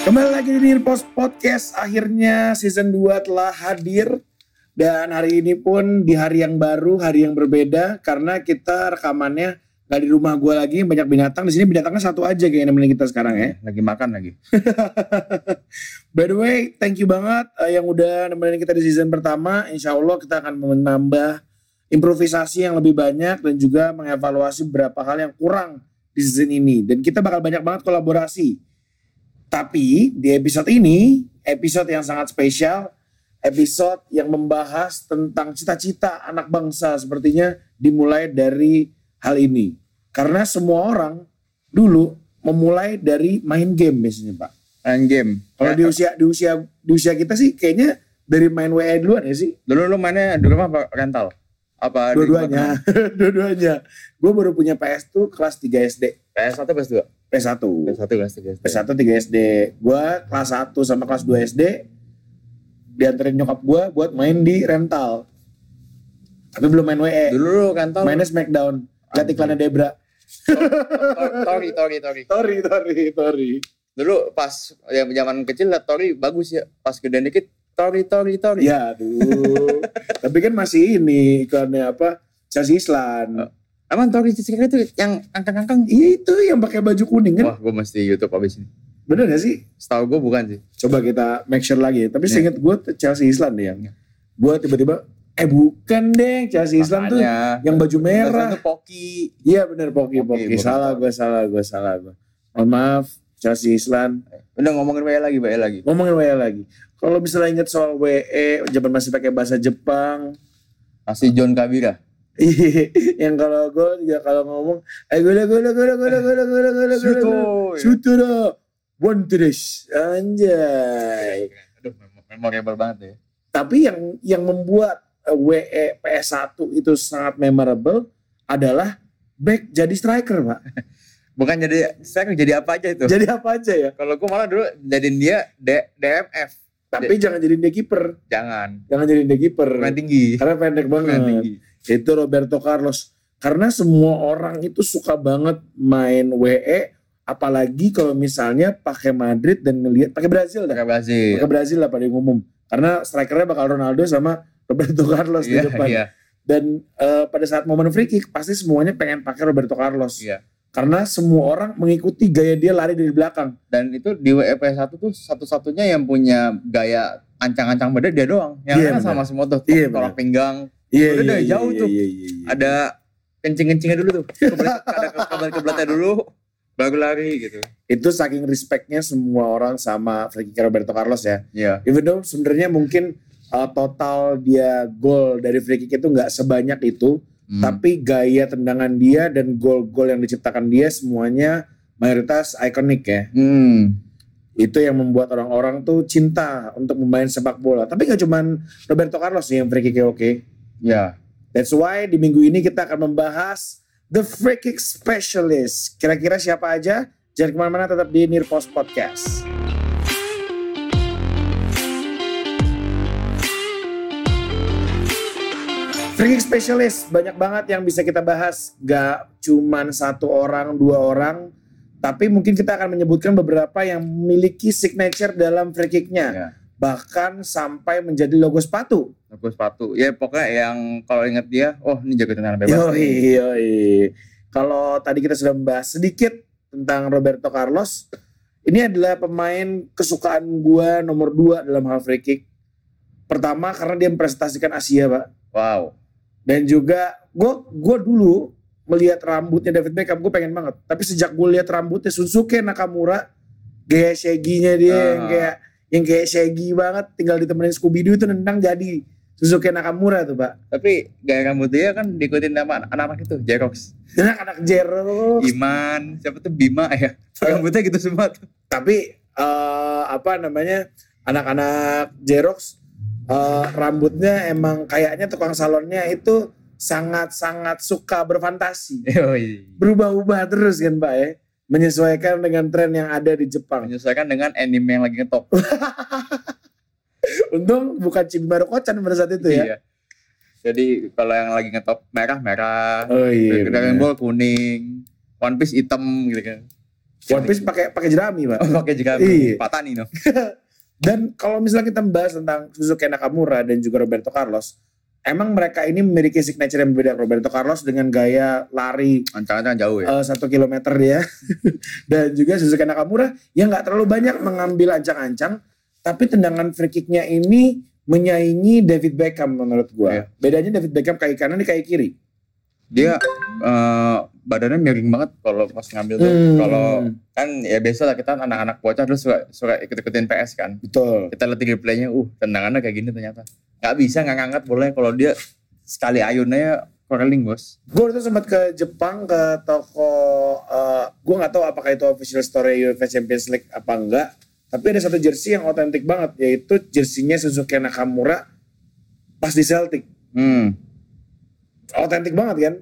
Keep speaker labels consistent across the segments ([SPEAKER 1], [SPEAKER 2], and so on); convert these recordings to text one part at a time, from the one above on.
[SPEAKER 1] Kembali lagi di Nirpos Podcast, akhirnya season 2 telah hadir dan hari ini pun di hari yang baru, hari yang berbeda karena kita rekamannya nggak di rumah gue lagi, banyak binatang di sini binatangnya satu aja kayak yang nemenin kita sekarang ya.
[SPEAKER 2] Lagi makan lagi.
[SPEAKER 1] By the way, thank you banget eh, yang udah nemenin kita di season pertama. Insya Allah kita akan menambah improvisasi yang lebih banyak dan juga mengevaluasi beberapa hal yang kurang di season ini. Dan kita bakal banyak banget kolaborasi. Tapi di episode ini, episode yang sangat spesial, episode yang membahas tentang cita-cita anak bangsa sepertinya dimulai dari hal ini. Karena semua orang dulu memulai dari main game biasanya Pak.
[SPEAKER 2] Main game.
[SPEAKER 1] Kalau di usia di usia di usia kita sih kayaknya dari main WA duluan ya sih.
[SPEAKER 2] dulu lu mainnya di rumah apa rental? Apa di rumah
[SPEAKER 1] Dua-duanya, dua-duanya. Gue baru punya PS tuh kelas 3 SD,
[SPEAKER 2] teman? PS1 PS2.
[SPEAKER 1] PS1.
[SPEAKER 2] PS1 kelas 3.
[SPEAKER 1] PS1 3 SD. Gue kelas 1 sama kelas 2 SD dianterin nyokap gue buat main di rental. Tapi belum main WE.
[SPEAKER 2] Dulu lu rental.
[SPEAKER 1] Mainnya Smackdown. Lihat iklannya Debra.
[SPEAKER 2] Tori Tori Tori.
[SPEAKER 1] Sorry, sorry, sorry.
[SPEAKER 2] Dulu pas ya, zaman kecil liat Tori bagus ya. Pas gedean dikit Tori Tori Tori.
[SPEAKER 1] Ya, aduh. Tapi kan masih ini iklannya apa? Cas Islan.
[SPEAKER 2] Emang Tori Cisika itu yang angkang-angkang?
[SPEAKER 1] Iya itu yang pakai baju kuning kan?
[SPEAKER 2] Wah, gue mesti YouTube abis ini.
[SPEAKER 1] Bener gak sih?
[SPEAKER 2] Setahu gue bukan sih.
[SPEAKER 1] Coba kita make sure lagi. Tapi
[SPEAKER 2] Iya.
[SPEAKER 1] seinget gue Chelsea Islan deh yang.
[SPEAKER 2] Iya.
[SPEAKER 1] Gue tiba-tiba, eh bukan deh Chelsea Islan tuh yang baju merah.
[SPEAKER 2] Itu Poki.
[SPEAKER 1] Iya bener Poki
[SPEAKER 2] Oke,
[SPEAKER 1] Poki.
[SPEAKER 2] bukan
[SPEAKER 1] Salah
[SPEAKER 2] tahu.
[SPEAKER 1] gue salah gue salah gue. Mohon maaf Chelsea Islan.
[SPEAKER 2] Udah ngomongin WE lagi, WE lagi.
[SPEAKER 1] Ngomongin WE lagi. Kalau misalnya inget soal WE, zaman masih pakai bahasa Jepang.
[SPEAKER 2] Masih John Kabira.
[SPEAKER 1] yang kalau gue juga kalau ngomong, eh gula gula gula gula gula gula gula gula gula.
[SPEAKER 2] Shoot.
[SPEAKER 1] Sutera. One Dish. Anjay.
[SPEAKER 2] Aduh, mem- memorable banget ya.
[SPEAKER 1] Tapi yang yang membuat eh, WE PS1 itu sangat memorable adalah back jadi striker, Pak.
[SPEAKER 2] Bukan jadi saya jadi apa aja itu.
[SPEAKER 1] Jadi apa aja ya.
[SPEAKER 2] Kalau gue malah dulu jadiin dia D- DMF.
[SPEAKER 1] Tapi jangan jadi dia kiper.
[SPEAKER 2] Jangan.
[SPEAKER 1] Jangan jadi dia kiper.
[SPEAKER 2] Iya. Main tinggi.
[SPEAKER 1] Karena pendek
[SPEAKER 2] Main
[SPEAKER 1] banget.
[SPEAKER 2] tinggi.
[SPEAKER 1] Itu Roberto Carlos. Karena semua orang itu suka banget main WE, apalagi kalau misalnya pakai Madrid dan ngelihat pakai Brazil dah.
[SPEAKER 2] Pakai Brazil.
[SPEAKER 1] Pakai Brazil lah paling umum. Karena strikernya bakal Ronaldo sama Roberto Carlos
[SPEAKER 2] Iya,
[SPEAKER 1] di depan.
[SPEAKER 2] iya.
[SPEAKER 1] Dan eh, pada saat momen free kick pasti semuanya pengen pakai Roberto Carlos.
[SPEAKER 2] Iya.
[SPEAKER 1] Karena semua orang mengikuti gaya dia lari dari belakang.
[SPEAKER 2] Dan itu di WEP 1 tuh satu-satunya yang punya gaya ancang-ancang badan dia doang. Yang
[SPEAKER 1] Iya,
[SPEAKER 2] lain
[SPEAKER 1] benar.
[SPEAKER 2] sama semua tuh.
[SPEAKER 1] Iya,
[SPEAKER 2] tolak pinggang.
[SPEAKER 1] Iya,
[SPEAKER 2] Udah dari jauh tuh.
[SPEAKER 1] iya, iya, iya.
[SPEAKER 2] Ada kencing-kencingnya dulu tuh. Kebelet- Ada ke- kebelet kebeletnya dulu. Baru lari gitu.
[SPEAKER 1] Itu saking respectnya semua orang sama free kick Roberto Carlos ya.
[SPEAKER 2] Iya.
[SPEAKER 1] Even though sebenarnya mungkin uh, total dia gol dari free kick itu nggak sebanyak itu,
[SPEAKER 2] Hmm.
[SPEAKER 1] tapi gaya tendangan dia dan gol-gol yang diciptakan dia semuanya mayoritas ikonik ya.
[SPEAKER 2] Hmm.
[SPEAKER 1] Itu yang membuat orang-orang tuh cinta untuk bermain sepak bola. Tapi gak cuman Roberto Carlos nih yang free kicknya oke.
[SPEAKER 2] Ya.
[SPEAKER 1] That's why di minggu ini kita akan membahas The Free Kick Specialist. Kira-kira siapa aja? Jangan kemana-mana tetap di Nirpos Podcast. Free Kick Specialist banyak banget yang bisa kita bahas. Gak cuman satu orang, dua orang. Tapi mungkin kita akan menyebutkan beberapa yang memiliki signature dalam free kicknya.
[SPEAKER 2] Ya.
[SPEAKER 1] Bahkan sampai menjadi logo sepatu.
[SPEAKER 2] Aku sepatu. Ya pokoknya yang kalau inget dia, oh ini jago tendangan bebas.
[SPEAKER 1] Yoi,
[SPEAKER 2] nih.
[SPEAKER 1] yoi. Kalau tadi kita sudah membahas sedikit tentang Roberto Carlos, ini adalah pemain kesukaan gua nomor dua dalam hal free kick. Pertama karena dia mempresentasikan Asia, Pak.
[SPEAKER 2] Wow.
[SPEAKER 1] Dan juga gua gua dulu melihat rambutnya David Beckham gue pengen banget. Tapi sejak gue lihat rambutnya Sunsuke Nakamura, gaya shaggy-nya dia yang
[SPEAKER 2] Ah.
[SPEAKER 1] kayak yang kayak shaggy banget, tinggal ditemenin Scooby Doo itu nendang jadi Sunsuke Nakamura tuh, Pak.
[SPEAKER 2] Tapi gaya rambut dia kan diikutin sama anak-anak itu, Jerox.
[SPEAKER 1] Dan anak Jero
[SPEAKER 2] Iman, siapa tuh Bima ya. Rambutnya gitu semua tuh.
[SPEAKER 1] tapi eh, apa namanya anak-anak Jerox eh, rambutnya emang kayaknya tukang salonnya itu sangat-sangat suka berfantasi
[SPEAKER 2] Yoi.
[SPEAKER 1] berubah-ubah terus kan pak ya menyesuaikan dengan tren yang ada di Jepang
[SPEAKER 2] Menyesuaikan dengan anime yang lagi ngetop.
[SPEAKER 1] Oh, untung bukan Cibimaru Kocan pada saat itu ya
[SPEAKER 2] Iya. Jadi kalau yang lagi ngetop merah merah,
[SPEAKER 1] oh iya bener.
[SPEAKER 2] Dragon Ball kuning, One Piece hitam gitu kan.
[SPEAKER 1] One Piece pakai pakai jerami pak.
[SPEAKER 2] Oh, pakai juga
[SPEAKER 1] Iya.
[SPEAKER 2] Pak Tani no.
[SPEAKER 1] Dan kalau misalnya kita membahas tentang Suzuki Nakamura dan juga Roberto Carlos, emang mereka ini memiliki signature yang berbeda. Roberto Carlos dengan gaya lari
[SPEAKER 2] Ancang-ancang jauh ya.
[SPEAKER 1] eh, satu kilometer dia, dan juga Suzuki Nakamura yang nggak terlalu banyak mengambil ancang-ancang, tapi tendangan free kicknya ini menyaingi David Beckham menurut gua.
[SPEAKER 2] Iya.
[SPEAKER 1] Bedanya David Beckham kaki kanan, ini kaki kiri.
[SPEAKER 2] Dia eh, badannya miring banget kalau pas ngambil tuh.
[SPEAKER 1] Hmm,
[SPEAKER 2] Kalau kan ya biasa lah kita anak-anak bocah terus suka, suka ikut-ikutin PS kan.
[SPEAKER 1] betul.
[SPEAKER 2] Kita lihat replaynya, uh tendangannya kayak gini ternyata. Gak bisa nggak ngangkat boleh kalau dia sekali ayunnya curling bos.
[SPEAKER 1] Gue waktu itu sempat ke Jepang ke toko, eh, gue nggak tahu apakah itu official story UEFA Champions League apa enggak. Tapi ada satu jersey yang otentik banget, yaitu jersinya Suzuki Nakamura pas di Celtic.
[SPEAKER 2] Hmm.
[SPEAKER 1] Otentik banget kan?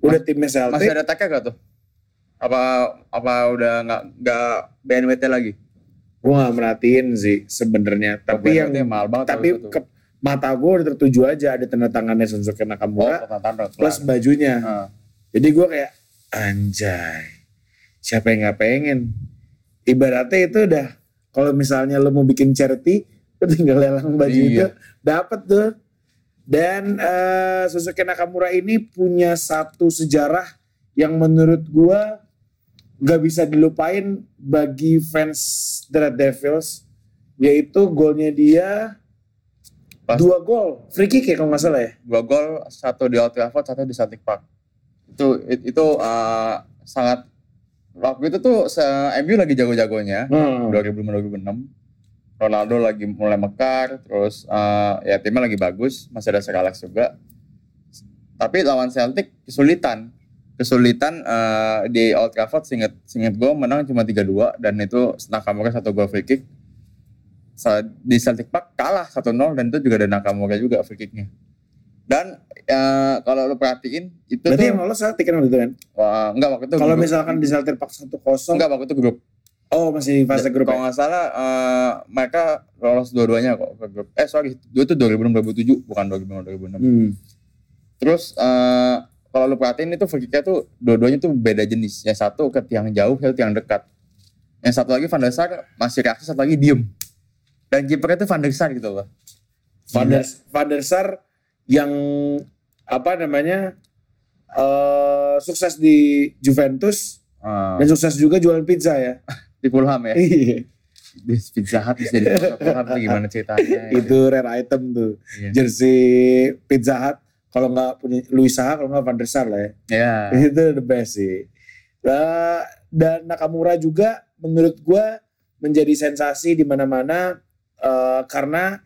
[SPEAKER 1] Udah timnya
[SPEAKER 2] Masih
[SPEAKER 1] Celtic.
[SPEAKER 2] ada tag gak tuh? Apa apa udah nggak nggak BNWT lagi?
[SPEAKER 1] Gue nggak merhatiin sih sebenarnya. Tapi yang
[SPEAKER 2] BNWT mahal banget.
[SPEAKER 1] tapi
[SPEAKER 2] kalau itu tuh.
[SPEAKER 1] ke, mata gue udah tertuju aja ada tanda tangannya Suzuki
[SPEAKER 2] oh, Nah,
[SPEAKER 1] Nakamura
[SPEAKER 2] pertandingan
[SPEAKER 1] plus bajunya.
[SPEAKER 2] Heeh.
[SPEAKER 1] Jadi gue kayak anjay. Siapa yang nggak pengen? Ibaratnya itu udah kalau misalnya lo mau bikin charity, lo tinggal lelang baju
[SPEAKER 2] Iya.
[SPEAKER 1] itu, dapat tuh. Dan eh, Suzuki Nakamura ini punya satu sejarah yang menurut gue gak bisa dilupain bagi fans The Red Devils, yaitu golnya dia
[SPEAKER 2] Pas-
[SPEAKER 1] dua gol, free kick ya kalau nggak salah ya.
[SPEAKER 2] dua gol satu di Old Trafford satu di Celtic Park itu it- itu uh, sangat waktu itu tuh se MU lagi jago-jagonya
[SPEAKER 1] Hmm.
[SPEAKER 2] 2005 2006 Ronaldo lagi mulai mekar terus uh, ya timnya lagi bagus masih ada Sir Alex juga tapi lawan Celtic kesulitan kesulitan uh, di Old Trafford singet singet gue menang cuma 3-2 dan itu Nakamura satu gol free kick Sa- di Celtic Park kalah 1-0 dan itu juga ada Nakamura juga free kicknya dan uh, kalau lo perhatiin itu
[SPEAKER 1] Berarti yang
[SPEAKER 2] tuh
[SPEAKER 1] lolos salah tiket waktu itu kan?
[SPEAKER 2] wah, enggak waktu itu
[SPEAKER 1] Kalau
[SPEAKER 2] grup-
[SPEAKER 1] misalkan di Celtic Park 1-0,
[SPEAKER 2] Gitu. enggak waktu itu grup
[SPEAKER 1] oh masih fase grup
[SPEAKER 2] kalau
[SPEAKER 1] ya?
[SPEAKER 2] nggak salah eh, mereka lolos dua-duanya kok ke grup eh sorry dua itu 2006 2007 bukan 2005 2006
[SPEAKER 1] Hmm.
[SPEAKER 2] terus eh, kalau lu perhatiin itu free kick-nya tuh dua-duanya tuh beda jenis yang satu ke tiang jauh yang tiang dekat yang satu lagi Van der Sar masih reaksi satu lagi diem dan kipernya tuh Van der Sar gitu loh
[SPEAKER 1] Van der, Van der Sar yang apa namanya eh sukses di Juventus
[SPEAKER 2] Eh,
[SPEAKER 1] dan sukses juga jualan pizza ya.
[SPEAKER 2] di Fulham ya
[SPEAKER 1] Iya.
[SPEAKER 2] di Pizza Hut bisa jadi Fulham tuh gimana ceritanya
[SPEAKER 1] itu rare item tuh.
[SPEAKER 2] Iya.
[SPEAKER 1] Jersey Pizza Hut kalau nggak punya Luis Saha kalau nggak Van der Sar lah ya.
[SPEAKER 2] ya
[SPEAKER 1] Itu the best sih. Eh, dan Nakamura juga menurut gua menjadi sensasi di mana-mana eh, karena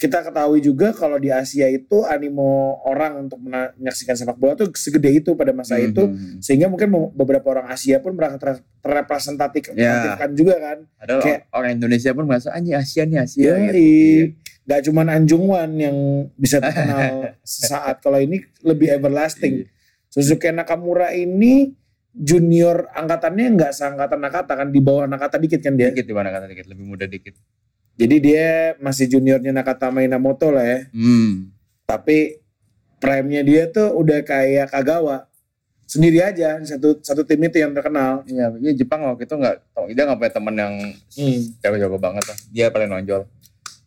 [SPEAKER 1] kita ketahui juga kalau di Asia itu animo orang untuk mena- menyaksikan sepak bola tuh segede itu pada masa Nah, itu
[SPEAKER 2] Mhm.
[SPEAKER 1] sehingga mungkin mau- beberapa orang Asia pun merasa ter- terrepresentatif
[SPEAKER 2] Ya.
[SPEAKER 1] kan juga kan.
[SPEAKER 2] padahal
[SPEAKER 1] kayak-
[SPEAKER 2] orang Indonesia pun merasa anjing Asia nih Asia
[SPEAKER 1] Iya,
[SPEAKER 2] gitu. Iya.
[SPEAKER 1] Gak cuman Anjungwan yang bisa terkenal sesaat kalau ini lebih everlasting. Suzuki Nakamura ini junior angkatannya nggak seangkatan Nakata kan di bawah Nakata dikit kan dia.
[SPEAKER 2] dikit di mana kata dikit lebih muda dikit
[SPEAKER 1] Jadi dia masih juniornya Nakata Mainamoto lah ya.
[SPEAKER 2] hmm.
[SPEAKER 1] Tapi prime-nya dia tuh udah kayak Kagawa sendiri aja di satu satu tim itu yang terkenal.
[SPEAKER 2] iya iya Jepang waktu itu nggak tau dia nggak punya teman yang
[SPEAKER 1] Hmm.
[SPEAKER 2] jago-jago banget lah dia paling nonjol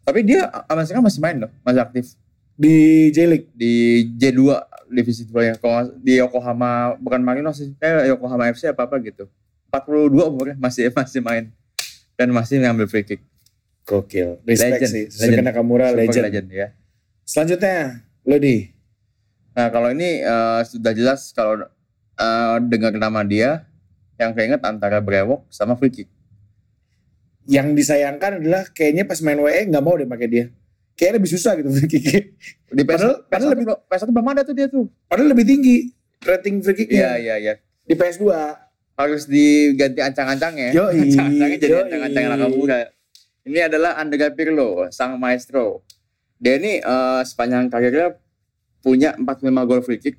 [SPEAKER 2] tapi dia sama sekarang masih main loh masih aktif
[SPEAKER 1] Di J League.
[SPEAKER 2] di J2 divisi 2 ya kalau nggak- di Yokohama bukan Marinos sih kayak Yokohama FC apa apa gitu 42 umurnya masih masih main dan masih ngambil free kick
[SPEAKER 1] Gokil. Respect
[SPEAKER 2] Legend,
[SPEAKER 1] sih. Suzuki
[SPEAKER 2] legend.
[SPEAKER 1] Nakamura
[SPEAKER 2] Super
[SPEAKER 1] legend.
[SPEAKER 2] ya
[SPEAKER 1] Selanjutnya Lodi.
[SPEAKER 2] Nah kalau ini eh, sudah jelas kalau eh, dengar nama dia yang keinget antara brewok sama free kick.
[SPEAKER 1] Yang disayangkan adalah kayaknya pas main WE nggak mau deh pakai dia. Kayaknya lebih susah gitu free kick.
[SPEAKER 2] Di PS,
[SPEAKER 1] Padahal- padahal
[SPEAKER 2] PS1 belum- PS1 belum ada tuh dia tuh.
[SPEAKER 1] Padahal lebih tinggi rating free
[SPEAKER 2] Iya
[SPEAKER 1] kicknya
[SPEAKER 2] iya iya.
[SPEAKER 1] di PS2.
[SPEAKER 2] Harus diganti ancang-ancangnya.
[SPEAKER 1] Yoi,
[SPEAKER 2] Ancang-ancangnya jadi
[SPEAKER 1] yoi.
[SPEAKER 2] ancang-ancang Nakamura. Ini adalah Andrea Pirlo, sang maestro. Dia ini eh, sepanjang karirnya punya 45 gol free kick.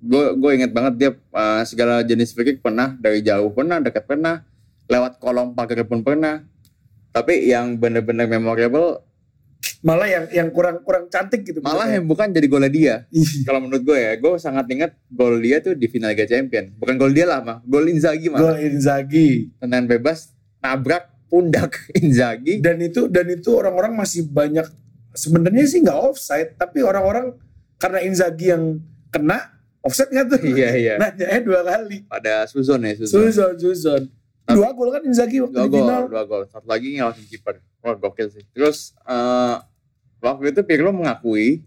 [SPEAKER 2] Gue gue inget banget dia eh, segala jenis free kick pernah dari jauh pernah, dekat pernah, lewat kolom pagar pun pernah. Tapi yang bener-bener memorable
[SPEAKER 1] malah yang yang kurang kurang cantik gitu
[SPEAKER 2] Malah
[SPEAKER 1] menurut
[SPEAKER 2] yang bukan jadi golnya dia.
[SPEAKER 1] saya.
[SPEAKER 2] Kalau menurut gue ya, gue sangat ingat gol dia tuh di final Liga Champion. Bukan gol dia lah mah, gol Inzaghi mah.
[SPEAKER 1] gol Inzaghi
[SPEAKER 2] Tendangan bebas, nabrak pundak Inzaghi.
[SPEAKER 1] dan itu dan itu orang-orang masih banyak sebenarnya sih nggak offside tapi orang-orang karena Inzaghi yang kena offside nggak tuh
[SPEAKER 2] Iya iya.
[SPEAKER 1] nanya eh dua kali
[SPEAKER 2] Pada Suzon ya Suzon.
[SPEAKER 1] Suzon Suzon dua gol kan Inzaghi waktu
[SPEAKER 2] Dua
[SPEAKER 1] di final
[SPEAKER 2] gol, dua gol. Satu lagi ngelawasin kiper. Wah gokil sih. Terus eh waktu itu Pirlo mengakui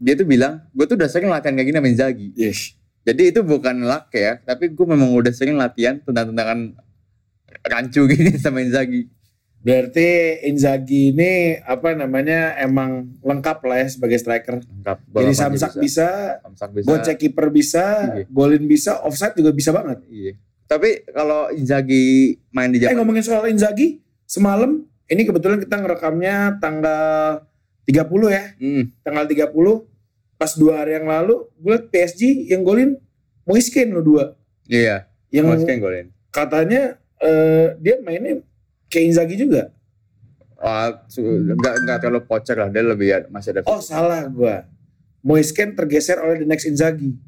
[SPEAKER 2] dia tuh bilang, gue tuh udah sering latihan kayak gini sama Inzaghi.
[SPEAKER 1] Yes.
[SPEAKER 2] Jadi itu bukan luck ya, tapi gue memang udah sering latihan tendang-tendangan rancu gini sama Inzaghi.
[SPEAKER 1] berarti Inzaghi ini apa namanya emang lengkap lah ya sebagai striker
[SPEAKER 2] Lengkap. bola
[SPEAKER 1] jadi
[SPEAKER 2] maju
[SPEAKER 1] samsak bisa,
[SPEAKER 2] Samsak bisa.
[SPEAKER 1] gocek kiper bisa
[SPEAKER 2] Iya.
[SPEAKER 1] golin bisa offside juga bisa banget
[SPEAKER 2] Iya. Tapi kalau Inzaghi main di
[SPEAKER 1] Eh
[SPEAKER 2] Jepang,
[SPEAKER 1] ngomongin soal Inzaghi, semalam ini kebetulan kita ngerekamnya tanggal 30 ya.
[SPEAKER 2] hmm,
[SPEAKER 1] Tanggal 30 pas dua hari yang lalu gue liat PSG yang golin Moiskin lo dua.
[SPEAKER 2] iya,
[SPEAKER 1] Yang
[SPEAKER 2] masukin golin.
[SPEAKER 1] katanya eh, dia mainnya kayak Inzaghi juga.
[SPEAKER 2] Ah, su- nggak nggak terlalu pocer lah, dia lebih ya- masih ada.
[SPEAKER 1] Oh salah gua. Moiskin tergeser oleh the next Inzaghi.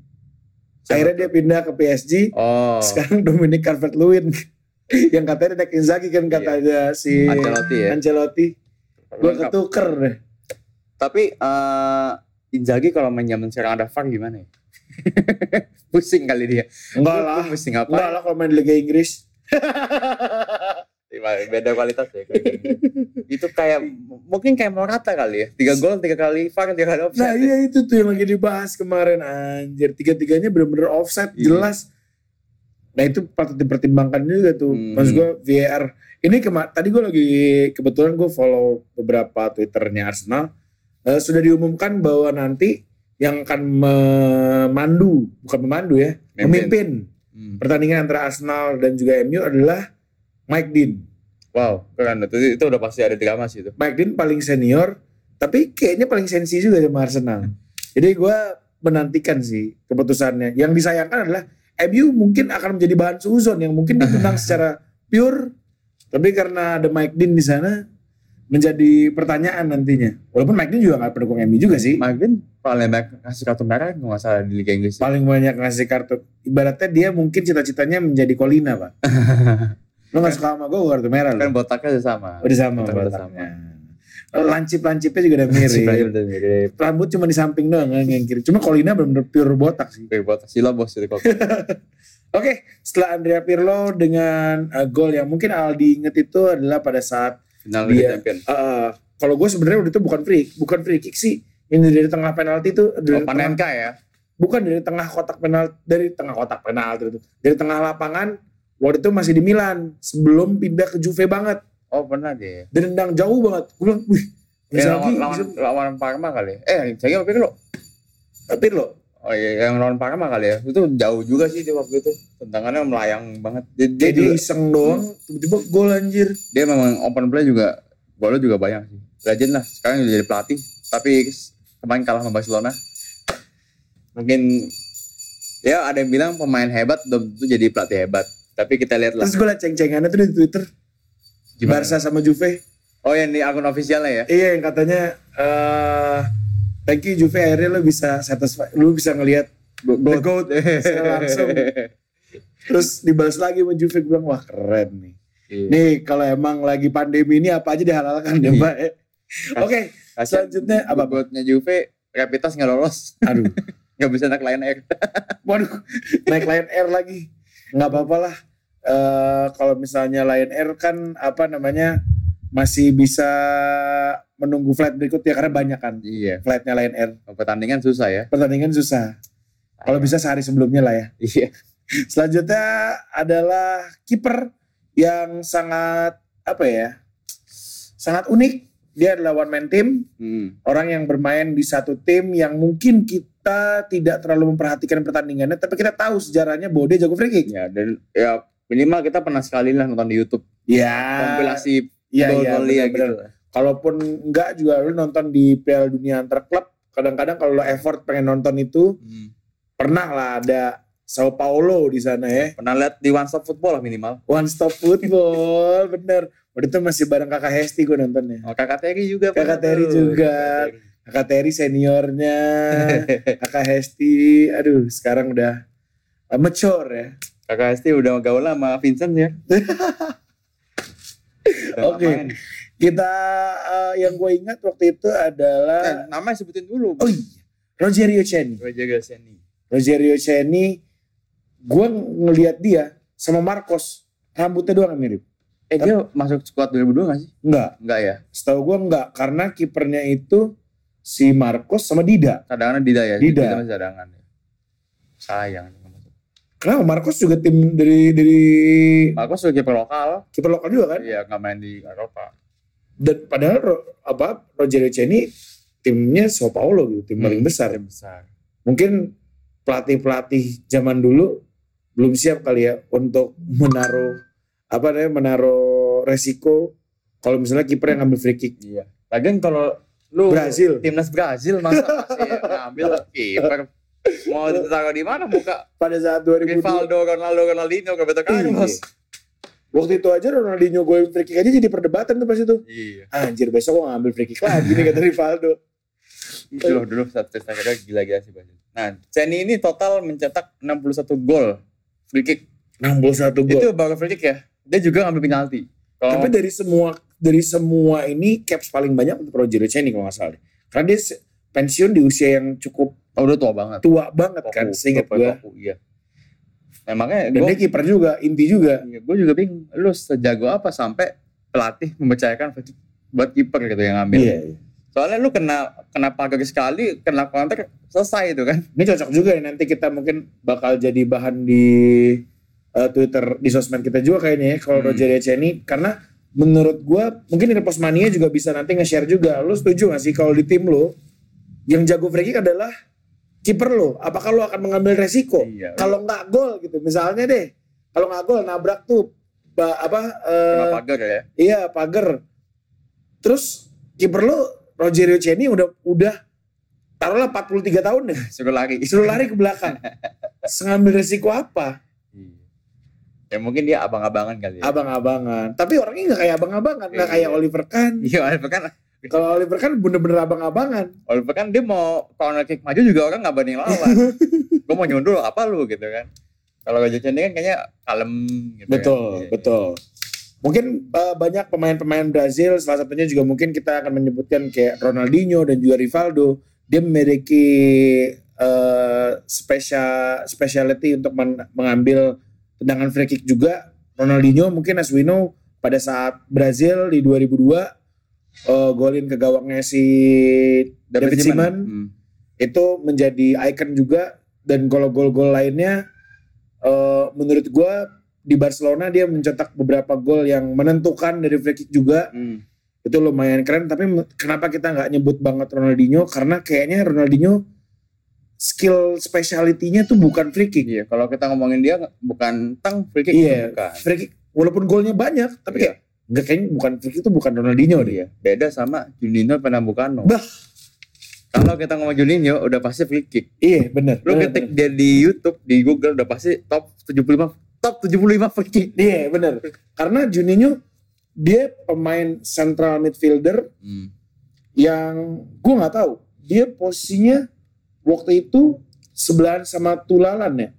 [SPEAKER 2] Siapa?
[SPEAKER 1] Akhirnya dia pindah ke PSG.
[SPEAKER 2] Oh,
[SPEAKER 1] Sekarang Dominic Calvert-Lewin yang katanya the next Inzaghi kan katanya si
[SPEAKER 2] Iya. Ancelotti ya.
[SPEAKER 1] Ancelotti. Gue
[SPEAKER 2] Lengkap.
[SPEAKER 1] ketuker deh.
[SPEAKER 2] Tapi eh Inzaghi kalau main zaman sekarang ada VAR gimana ya? pusing kali dia.
[SPEAKER 1] Enggak lah.
[SPEAKER 2] Pusing apa?
[SPEAKER 1] Enggak lah kalau main di Liga Inggris.
[SPEAKER 2] Iya, beda kualitas ya kayak gini. itu kayak mungkin kayak Morata kali ya tiga gol tiga kali VAR tiga kali
[SPEAKER 1] Nah
[SPEAKER 2] offside ya.
[SPEAKER 1] iya itu tuh yang lagi dibahas kemarin anjir. Tiga-tiganya bener-bener offset
[SPEAKER 2] Iya.
[SPEAKER 1] jelas. Nah itu patut dipertimbangkan juga tuh.
[SPEAKER 2] Hmm.
[SPEAKER 1] Maksud gue VAR. Ini kema- tadi gue lagi kebetulan gue follow beberapa twitternya Arsenal. Eh, sudah diumumkan bahwa nanti yang akan memandu, bukan memandu ya, memimpin
[SPEAKER 2] Hmm.
[SPEAKER 1] pertandingan antara Arsenal dan juga MU adalah Mike Dean.
[SPEAKER 2] wow keren itu, itu udah pasti ada drama sih itu
[SPEAKER 1] Mike Dean paling senior, tapi kayaknya paling sensi juga sama Arsenal. Jadi gue menantikan sih keputusannya. Yang disayangkan adalah MU mungkin akan menjadi bahan suzon yang mungkin ditentang secara pure, tapi karena ada Mike Dean di sana menjadi pertanyaan nantinya. Walaupun Mike Dean juga nggak pendukung MU juga sih.
[SPEAKER 2] Magen paling banyak kasih kartu merah nggak masalah di Liga Inggris ya.
[SPEAKER 1] Paling banyak ngasih kartu. Ibaratnya dia mungkin cita-citanya menjadi Colina, Pak. Lo gak suka sama gue, kartu merah
[SPEAKER 2] kan
[SPEAKER 1] lo.
[SPEAKER 2] botaknya udah sama
[SPEAKER 1] Udah sama,
[SPEAKER 2] Udah
[SPEAKER 1] Pak.
[SPEAKER 2] sama.
[SPEAKER 1] Lancip-lancipnya juga udah mirip.
[SPEAKER 2] Sebenarnya udah mirip
[SPEAKER 1] rambut cuma di samping doang kan yang kiri. Cuma Colina benar-benar pure botak sih.
[SPEAKER 2] Kayak botak sila bos itu kok
[SPEAKER 1] Oke, setelah Andrea Pirlo dengan eh, gol yang mungkin Aldi inget itu adalah pada saat
[SPEAKER 2] final
[SPEAKER 1] Dia.
[SPEAKER 2] Liga Champion
[SPEAKER 1] eh, eh, kalau gue sebenarnya waktu itu bukan free, bukan free kick sih. Ini dari tengah penalti itu dari
[SPEAKER 2] oh,
[SPEAKER 1] tengah,
[SPEAKER 2] Panenka ya
[SPEAKER 1] bukan dari tengah kotak penalti, dari tengah kotak penalti itu. Dari tengah lapangan waktu itu masih di Milan sebelum pindah ke Juve banget.
[SPEAKER 2] oh pernah deh
[SPEAKER 1] Dendang jauh banget. Gue bilang, "Wih,
[SPEAKER 2] ya,
[SPEAKER 1] Inzaghi
[SPEAKER 2] lawan, lawan,
[SPEAKER 1] bisa
[SPEAKER 2] lawan Parma kali ya. eh saya tapi lo
[SPEAKER 1] Eh, Pirlo.
[SPEAKER 2] Oh iya, yang lawan Parma kali ya. Itu jauh juga sih dia waktu itu. Tendangannya melayang banget. Dia, dia,
[SPEAKER 1] Jadi
[SPEAKER 2] juga-
[SPEAKER 1] iseng doang, tiba-tiba gol anjir.
[SPEAKER 2] dia memang open play juga golnya juga banyak sih. Legend lah. Sekarang udah jadi pelatih. Tapi kemarin kalah sama Barcelona. Mungkin ya ada yang bilang pemain hebat belum tentu jadi pelatih hebat. Tapi kita lihat lah.
[SPEAKER 1] Terus gue liat ceng-cengannya tuh di Twitter.
[SPEAKER 2] Gimana?
[SPEAKER 1] Barca sama Juve.
[SPEAKER 2] Oh yang di akun officialnya ya.
[SPEAKER 1] Iya yang katanya eh thank you Juve akhirnya lo bisa satisfy, lo bisa ngelihat
[SPEAKER 2] Go-
[SPEAKER 1] the
[SPEAKER 2] go-
[SPEAKER 1] goat secara langsung. Terus dibalas lagi sama Juve gue bilang wah keren nih.
[SPEAKER 2] Iya.
[SPEAKER 1] Nih kalau emang lagi pandemi ini apa aja dihalalkan deh
[SPEAKER 2] Iya.
[SPEAKER 1] Pak. Eh, Oke,
[SPEAKER 2] Kasian
[SPEAKER 1] selanjutnya apa, Pak?
[SPEAKER 2] Goatnya Juve Rapitas nggak lolos.
[SPEAKER 1] aduh,
[SPEAKER 2] Nggak bisa naik Lion Air.
[SPEAKER 1] waduh, naik Lion Air lagi, nggak apa-apa lah. Eh, kalau misalnya Lion Air kan apa namanya masih bisa menunggu flight berikutnya karena banyak kan
[SPEAKER 2] iya.
[SPEAKER 1] flightnya Lion Air.
[SPEAKER 2] Pertandingan susah ya.
[SPEAKER 1] Pertandingan susah. Kalau bisa sehari sebelumnya lah ya.
[SPEAKER 2] Iya.
[SPEAKER 1] Selanjutnya adalah kiper yang sangat apa ya? Sangat unik. Dia adalah one man team,
[SPEAKER 2] Hmm.
[SPEAKER 1] orang yang bermain di satu tim yang mungkin kita tidak terlalu memperhatikan pertandingannya, tapi kita tahu sejarahnya bahwa dia jago free kick.
[SPEAKER 2] Ya dan ya minimal kita pernah sekali lah nonton di YouTube
[SPEAKER 1] Ya.
[SPEAKER 2] kompilasi
[SPEAKER 1] Iya, iya,
[SPEAKER 2] gol-gol ya,
[SPEAKER 1] benar-benar.
[SPEAKER 2] gitu.
[SPEAKER 1] Kalaupun enggak juga lu nonton di Piala Dunia antar klub, kadang-kadang kalau lo effort pengen nonton itu,
[SPEAKER 2] Hmm.
[SPEAKER 1] pernah lah ada Sao Paulo di sana ya.
[SPEAKER 2] Pernah lihat di One Stop Football lah minimal.
[SPEAKER 1] One Stop Football, bener. Waktu itu masih bareng kakak Hesti gue nontonnya.
[SPEAKER 2] Oh, kakak Terry juga. Pak.
[SPEAKER 1] Kakak Terry
[SPEAKER 2] Aduh,
[SPEAKER 1] juga.
[SPEAKER 2] Kakak Terry.
[SPEAKER 1] Kakak Terry seniornya, kakak Hesti, aduh sekarang udah uh, mature ya.
[SPEAKER 2] Kakak Hesti udah gaul sama Vincent ya. Udah
[SPEAKER 1] Oke.
[SPEAKER 2] lama nih.
[SPEAKER 1] Kita uh, yang gue ingat waktu itu
[SPEAKER 2] Eh,
[SPEAKER 1] adalah
[SPEAKER 2] nama sebutin dulu.
[SPEAKER 1] oh iya, Rogerio Ceni.
[SPEAKER 2] Gue jaga Seni.
[SPEAKER 1] Rogerio Ceni, gue ngelihat dia sama Marcos rambutnya doang yang mirip.
[SPEAKER 2] Eh dia masuk squad 2002 gak sih?
[SPEAKER 1] Enggak,
[SPEAKER 2] Enggak ya.
[SPEAKER 1] setahu gue enggak karena kipernya itu si Marcos sama Dida.
[SPEAKER 2] Cadangannya Dida ya.
[SPEAKER 1] Dida.
[SPEAKER 2] masih cadangan. ya. Sayang.
[SPEAKER 1] Kenapa Marcos juga tim dari dari
[SPEAKER 2] Marcos juga kiper lokal.
[SPEAKER 1] kiper lokal juga kan?
[SPEAKER 2] Iya, nggak main di Eropa.
[SPEAKER 1] dan padahal Ro- apa Rogerio Ceni timnya Sao Paulo gitu tim paling
[SPEAKER 2] Hmm,
[SPEAKER 1] besar
[SPEAKER 2] Tim besar.
[SPEAKER 1] mungkin pelatih pelatih zaman dulu belum siap kali ya untuk menaruh apa namanya menaruh resiko kalau misalnya kiper yang ngambil free kick
[SPEAKER 2] Iya. Lagian kalau lu
[SPEAKER 1] Brazil
[SPEAKER 2] timnas Brazil masa masih ngambil kiper mau ditaruh di mana muka
[SPEAKER 1] pada saat 2002
[SPEAKER 2] Rivaldo, Ronaldo, Ronaldinho, Roberto
[SPEAKER 1] Iya.
[SPEAKER 2] Carlos.
[SPEAKER 1] waktu itu aja Ronaldinho golin free kick aja jadi perdebatan tuh pas itu
[SPEAKER 2] Iya.
[SPEAKER 1] anjir besok gua ngambil free kick lagi nih kata Rivaldo
[SPEAKER 2] Dulu dulu saat tes akhirnya gila-gila sih Brazil. Nah, Ceni ini total mencetak 61 gol free kick.
[SPEAKER 1] 61 gol
[SPEAKER 2] Itu baru free kick ya. Dia juga ngambil penalti.
[SPEAKER 1] Tapi
[SPEAKER 2] Kalau
[SPEAKER 1] dari semua dari semua ini caps paling banyak untuk Rogerio Ceni kalau nggak salah. Karena dia se- pensiun di usia yang cukup
[SPEAKER 2] oh, udah tua banget.
[SPEAKER 1] tua banget kan,
[SPEAKER 2] Toku,
[SPEAKER 1] seingat
[SPEAKER 2] Toku,
[SPEAKER 1] gue.
[SPEAKER 2] Toku, Iya. Nah, makanya
[SPEAKER 1] Dan
[SPEAKER 2] gua-
[SPEAKER 1] dia kiper juga, inti juga.
[SPEAKER 2] Iya, gue juga bingung. Lu sejago apa sampai pelatih mempercayakan Fajri buat kiper gitu yang ngambil.
[SPEAKER 1] Iya.
[SPEAKER 2] Soalnya lu kena kena pagar sekali, kena counter selesai itu kan.
[SPEAKER 1] Ini cocok juga ya nanti kita mungkin bakal jadi bahan di eh, Twitter di sosmed kita juga kayaknya ya kalau
[SPEAKER 2] Hmm.
[SPEAKER 1] Rogerio Ceni karena menurut gue mungkin di Postmania juga bisa nanti nge-share juga. Lu setuju gak sih kalau di tim lu yang jago free kick adalah kiper lo? Apakah lo akan mengambil resiko?
[SPEAKER 2] Iya.
[SPEAKER 1] kalau nggak gol gitu misalnya deh kalau nggak gol nabrak tuh ba- apa eh,
[SPEAKER 2] kena pagar ya.
[SPEAKER 1] iya pagar terus kiper lu Rogerio Ceni udah udah taruhlah 43 tahun deh
[SPEAKER 2] Suruh lari.
[SPEAKER 1] disuruh lari ke belakang ngambil resiko apa
[SPEAKER 2] Iya. Ya mungkin dia abang-abangan kali ya.
[SPEAKER 1] abang-abangan tapi orangnya nggak kayak abang-abangan nggak
[SPEAKER 2] Iya.
[SPEAKER 1] kayak Oliver Kahn
[SPEAKER 2] Iya, Oliver kan
[SPEAKER 1] kalau Oliver Kahn bener-bener abang-abangan
[SPEAKER 2] Oliver kan dia mau corner kick maju juga orang nggak banding lawan. gue mau nyundul apa lu gitu kan. Kalau Roger Chan kan kayaknya kalem gitu kan.
[SPEAKER 1] Betul,
[SPEAKER 2] Iya.
[SPEAKER 1] betul. Mungkin uh, banyak pemain-pemain Brazil, salah satunya juga mungkin kita akan menyebutkan kayak Ronaldinho dan juga Rivaldo. Dia memiliki uh, special speciality untuk men- mengambil tendangan free kick juga. Ronaldinho mungkin as we know pada saat Brazil di 2002 uh, golin ke gawangnya si David Seaman
[SPEAKER 2] Hmm.
[SPEAKER 1] itu menjadi icon juga dan kalau gol-gol lainnya eh, menurut gua di Barcelona dia mencetak beberapa gol yang menentukan dari free kick juga
[SPEAKER 2] Hmm.
[SPEAKER 1] itu lumayan keren tapi me- kenapa kita nggak nyebut banget Ronaldinho karena kayaknya Ronaldinho skill speciality-nya tuh bukan free kick
[SPEAKER 2] Iya, kalau kita ngomongin dia bukan tang free kick
[SPEAKER 1] Iya.
[SPEAKER 2] bukan.
[SPEAKER 1] free kick walaupun golnya banyak tapi
[SPEAKER 2] Iya.
[SPEAKER 1] kayak nggak kayaknya bukan free kick itu bukan Ronaldinho deh
[SPEAKER 2] Iya, beda sama Juninho Pernambucano.
[SPEAKER 1] Bah.
[SPEAKER 2] Kalau kita ngomong Juninho udah pasti free kick.
[SPEAKER 1] iya bener
[SPEAKER 2] Lu
[SPEAKER 1] bener,
[SPEAKER 2] ketik dia di YouTube, di Google udah pasti top 75 top 75 free kick.
[SPEAKER 1] bener. iya bener karena Juninho dia pemain central midfielder yang gue nggak tahu dia posisinya waktu itu sebelahan sama Tulalan ya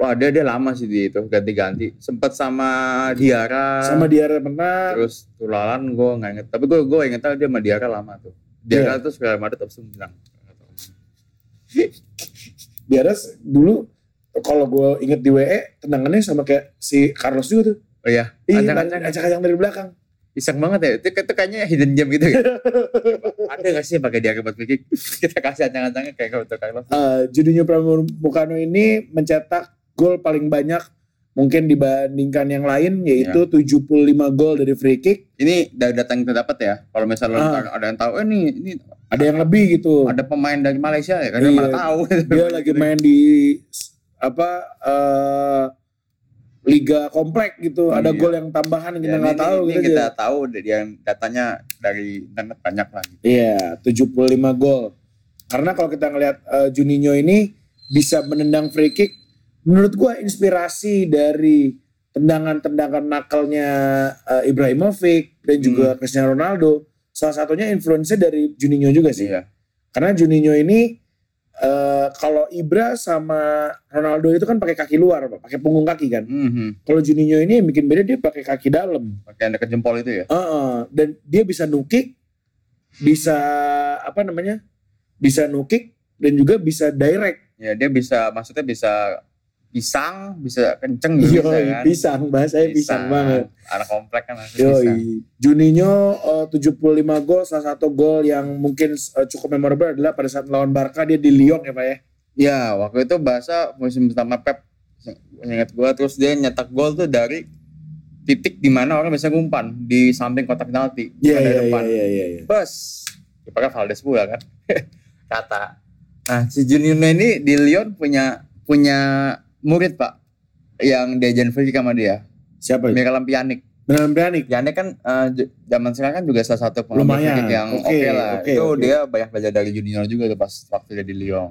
[SPEAKER 2] Wah, dia dia lama sih di itu ganti-ganti. Sempat sama Diara,
[SPEAKER 1] sama Diarra menang
[SPEAKER 2] terus Tulalan gue nggak inget. Tapi gue gue inget tahu dia sama Diara lama tuh.
[SPEAKER 1] Iya.
[SPEAKER 2] Diara tuh Real Madrid top 9.
[SPEAKER 1] Diarra s- dulu kalau gue inget di WE tendangannya sama kayak si Carlos juga tuh
[SPEAKER 2] Oh iya,
[SPEAKER 1] Ih,
[SPEAKER 2] Acak-acakan.
[SPEAKER 1] acak-acak dari belakang
[SPEAKER 2] iseng banget ya. Itu, itu kayaknya hidden gem gitu. ya. Ada nggak sih yang pakai Diara buat free kick? Kita kasih ancang-ancangnya kayak gitu Carlos.
[SPEAKER 1] Eh, Juninho Pramukano ini mencetak gol paling banyak mungkin dibandingkan yang lain yaitu 75 gol dari free kick
[SPEAKER 2] ini dari data yang kita dapat ya kalau misalnya lo
[SPEAKER 1] Ah.
[SPEAKER 2] tar- ada yang tahu eh ini ini
[SPEAKER 1] ada yang lebih gitu
[SPEAKER 2] ada pemain dari Malaysia ya kan iya. gitu.
[SPEAKER 1] Iya.
[SPEAKER 2] mana tahu
[SPEAKER 1] dia lagi main di s- apa eh, liga komplek gitu ada
[SPEAKER 2] Iya.
[SPEAKER 1] gol yang tambahan yang
[SPEAKER 2] Ya,
[SPEAKER 1] kita
[SPEAKER 2] ini,
[SPEAKER 1] nggak tahu
[SPEAKER 2] ini
[SPEAKER 1] gitu
[SPEAKER 2] kita
[SPEAKER 1] aja.
[SPEAKER 2] tahu dari yang datanya dari internet banyak lah gitu.
[SPEAKER 1] iya 75 gol karena kalau kita ngelihat eh, Juninho ini bisa menendang free kick menurut gua inspirasi dari tendangan-tendangan nakalnya eh, Ibrahimovic dan juga
[SPEAKER 2] Hmm.
[SPEAKER 1] Cristiano Ronaldo salah satunya influence dari Juninho juga sih.
[SPEAKER 2] Iya.
[SPEAKER 1] Karena Juninho ini eh, kalau Ibra sama Ronaldo itu kan pakai kaki luar, Pak, pakai punggung kaki kan.
[SPEAKER 2] Mhm.
[SPEAKER 1] Kalau Juninho ini yang bikin beda dia pakai kaki dalam.
[SPEAKER 2] Pakai yang dekat jempol itu ya.
[SPEAKER 1] Heeh, dan dia bisa nukik, bisa apa namanya? Bisa nukik dan juga bisa direct.
[SPEAKER 2] Ya dia bisa maksudnya bisa pisang, bisa kenceng gitu bisa
[SPEAKER 1] Yoi,
[SPEAKER 2] kan.
[SPEAKER 1] pisang bahasanya pisang, banget.
[SPEAKER 2] Anak komplek kan harus pisang.
[SPEAKER 1] Yoi. Juninho eh, 75 gol, salah satu gol yang mungkin eh, cukup memorable adalah pada saat lawan Barca dia di Lyon ya Pak ya.
[SPEAKER 2] Ya waktu itu bahasa musim pertama Pep ingat gua terus dia nyetak gol tuh dari titik di mana orang bisa ngumpan di samping kotak penalti
[SPEAKER 1] Iya iya
[SPEAKER 2] bukan dari
[SPEAKER 1] iya
[SPEAKER 2] depan.
[SPEAKER 1] iya iya. iya.
[SPEAKER 2] Bus. Dipakai Valdes pula kan. Kata. Nah, si Juninho ini di Lyon punya punya murid, Pak. Yang diajarin fisik sama dia.
[SPEAKER 1] Siapa? itu?
[SPEAKER 2] Mikalam Pjanic.
[SPEAKER 1] Benar berani.
[SPEAKER 2] Pjanic kan eh, j- zaman sekarang kan juga salah satu pengambil
[SPEAKER 1] Lumayan.
[SPEAKER 2] free kick yang
[SPEAKER 1] Oke,
[SPEAKER 2] oke lah.
[SPEAKER 1] oke,
[SPEAKER 2] Itu
[SPEAKER 1] oke.
[SPEAKER 2] dia banyak belajar dari Juninho juga tuh pas waktu dia di Lyon.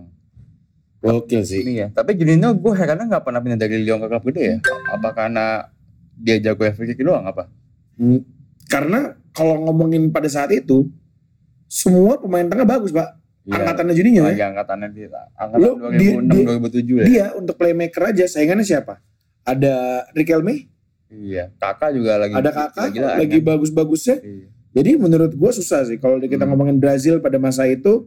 [SPEAKER 1] Gokil sih.
[SPEAKER 2] Ini ya. Tapi Juninho gue herannya nggak pernah pindah dari Lyon ke klub gede ya. Apa karena dia jago free kick doang apa?
[SPEAKER 1] Hmm. Karena kalau ngomongin pada saat itu semua pemain tengah bagus, Pak.
[SPEAKER 2] Iya.
[SPEAKER 1] Angkatannya Juninho ya.
[SPEAKER 2] Lagi angkatannya dia.
[SPEAKER 1] Lu,
[SPEAKER 2] Angkatan
[SPEAKER 1] dia-
[SPEAKER 2] 2006 2007 ya.
[SPEAKER 1] Dia untuk playmaker aja saingannya siapa? Ada Riquelme,
[SPEAKER 2] Iya, kakak juga lagi
[SPEAKER 1] ada Kakak,
[SPEAKER 2] gila-gilaan
[SPEAKER 1] lagi
[SPEAKER 2] kan?
[SPEAKER 1] bagus-bagusnya.
[SPEAKER 2] Iya.
[SPEAKER 1] Jadi menurut gue susah sih kalau kita
[SPEAKER 2] Hmm.
[SPEAKER 1] ngomongin Brazil pada masa itu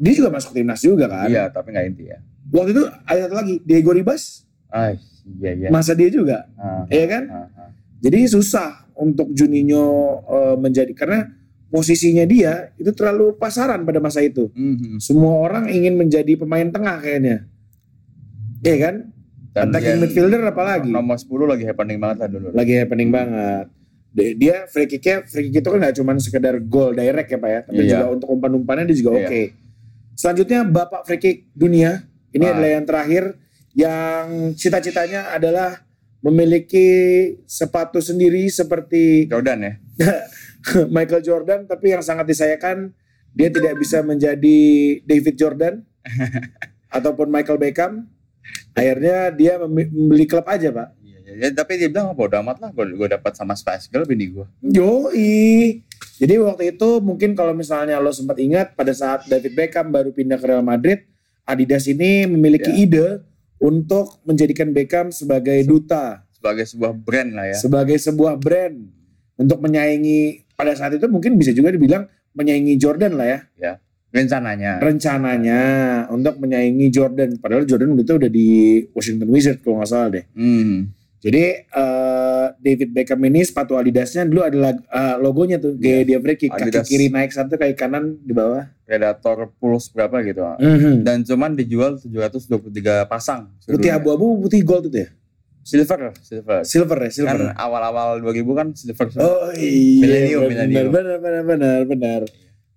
[SPEAKER 1] dia juga masuk timnas juga kan.
[SPEAKER 2] Iya, tapi nggak inti ya.
[SPEAKER 1] Waktu itu ada satu lagi Diego Ribas
[SPEAKER 2] Ah, iya iya.
[SPEAKER 1] masa dia juga,
[SPEAKER 2] Ah,
[SPEAKER 1] ya kan?
[SPEAKER 2] ah, ah.
[SPEAKER 1] Jadi susah untuk Juninho eh, menjadi karena posisinya dia itu terlalu pasaran pada masa itu.
[SPEAKER 2] Mhm.
[SPEAKER 1] Semua orang ingin menjadi pemain tengah kayaknya. Iya kan?
[SPEAKER 2] Dan
[SPEAKER 1] Attacking
[SPEAKER 2] dia
[SPEAKER 1] midfielder apalagi?
[SPEAKER 2] Nomor 10 lagi happening banget lah dulu.
[SPEAKER 1] Lagi happening banget. Dia- Dia free kicknya, free kick itu kan gak cuma sekedar gol direct ya Pak ya. Tapi
[SPEAKER 2] Iya.
[SPEAKER 1] juga untuk umpan-umpannya dia juga
[SPEAKER 2] Iya.
[SPEAKER 1] oke. Selanjutnya Bapak free kick dunia. Ini
[SPEAKER 2] Ah.
[SPEAKER 1] adalah yang terakhir. Yang cita-citanya adalah memiliki sepatu sendiri seperti
[SPEAKER 2] Jordan ya.
[SPEAKER 1] Michael Jordan. Tapi yang sangat disayangkan dia tidak bisa menjadi David Jordan. ataupun Michael Beckham. Akhirnya dia mem- membeli klub aja Pak.
[SPEAKER 2] Iya, iya, iya. tapi dia bilang bodo amat lah gue gue dapat sama Spice Girl bini gue
[SPEAKER 1] Yoi. Jadi waktu itu mungkin kalau misalnya lo sempat ingat pada saat David Beckham baru pindah ke Real Madrid, Adidas ini memiliki
[SPEAKER 2] Ya.
[SPEAKER 1] ide untuk menjadikan Beckham sebagai duta,
[SPEAKER 2] sebagai sebuah brand lah ya.
[SPEAKER 1] sebagai sebuah brand untuk menyaingi pada saat itu mungkin bisa juga dibilang menyaingi Jordan lah ya
[SPEAKER 2] Rencananya.
[SPEAKER 1] rencananya untuk menyaingi Jordan padahal Jordan waktu itu udah di Washington Wizards kalau nggak salah deh
[SPEAKER 2] Hmm.
[SPEAKER 1] jadi eh, David Beckham ini sepatu Adidasnya dulu adalah eh, logonya tuh gaya dia free kick kaki
[SPEAKER 2] Iya. Adidas.
[SPEAKER 1] kiri naik satu kaki kanan di bawah.
[SPEAKER 2] Predator Pulse berapa gitu. Dan cuman dijual 723 pasang.
[SPEAKER 1] Putih
[SPEAKER 2] seluruhnya.
[SPEAKER 1] abu-abu putih gold itu ya.
[SPEAKER 2] Silver, silver.
[SPEAKER 1] Silver ya silver.
[SPEAKER 2] Kan awal-awal 2000 kan silver. semua.
[SPEAKER 1] oh iya
[SPEAKER 2] Millennium,
[SPEAKER 1] benar
[SPEAKER 2] millennium.
[SPEAKER 1] benar benar benar benar.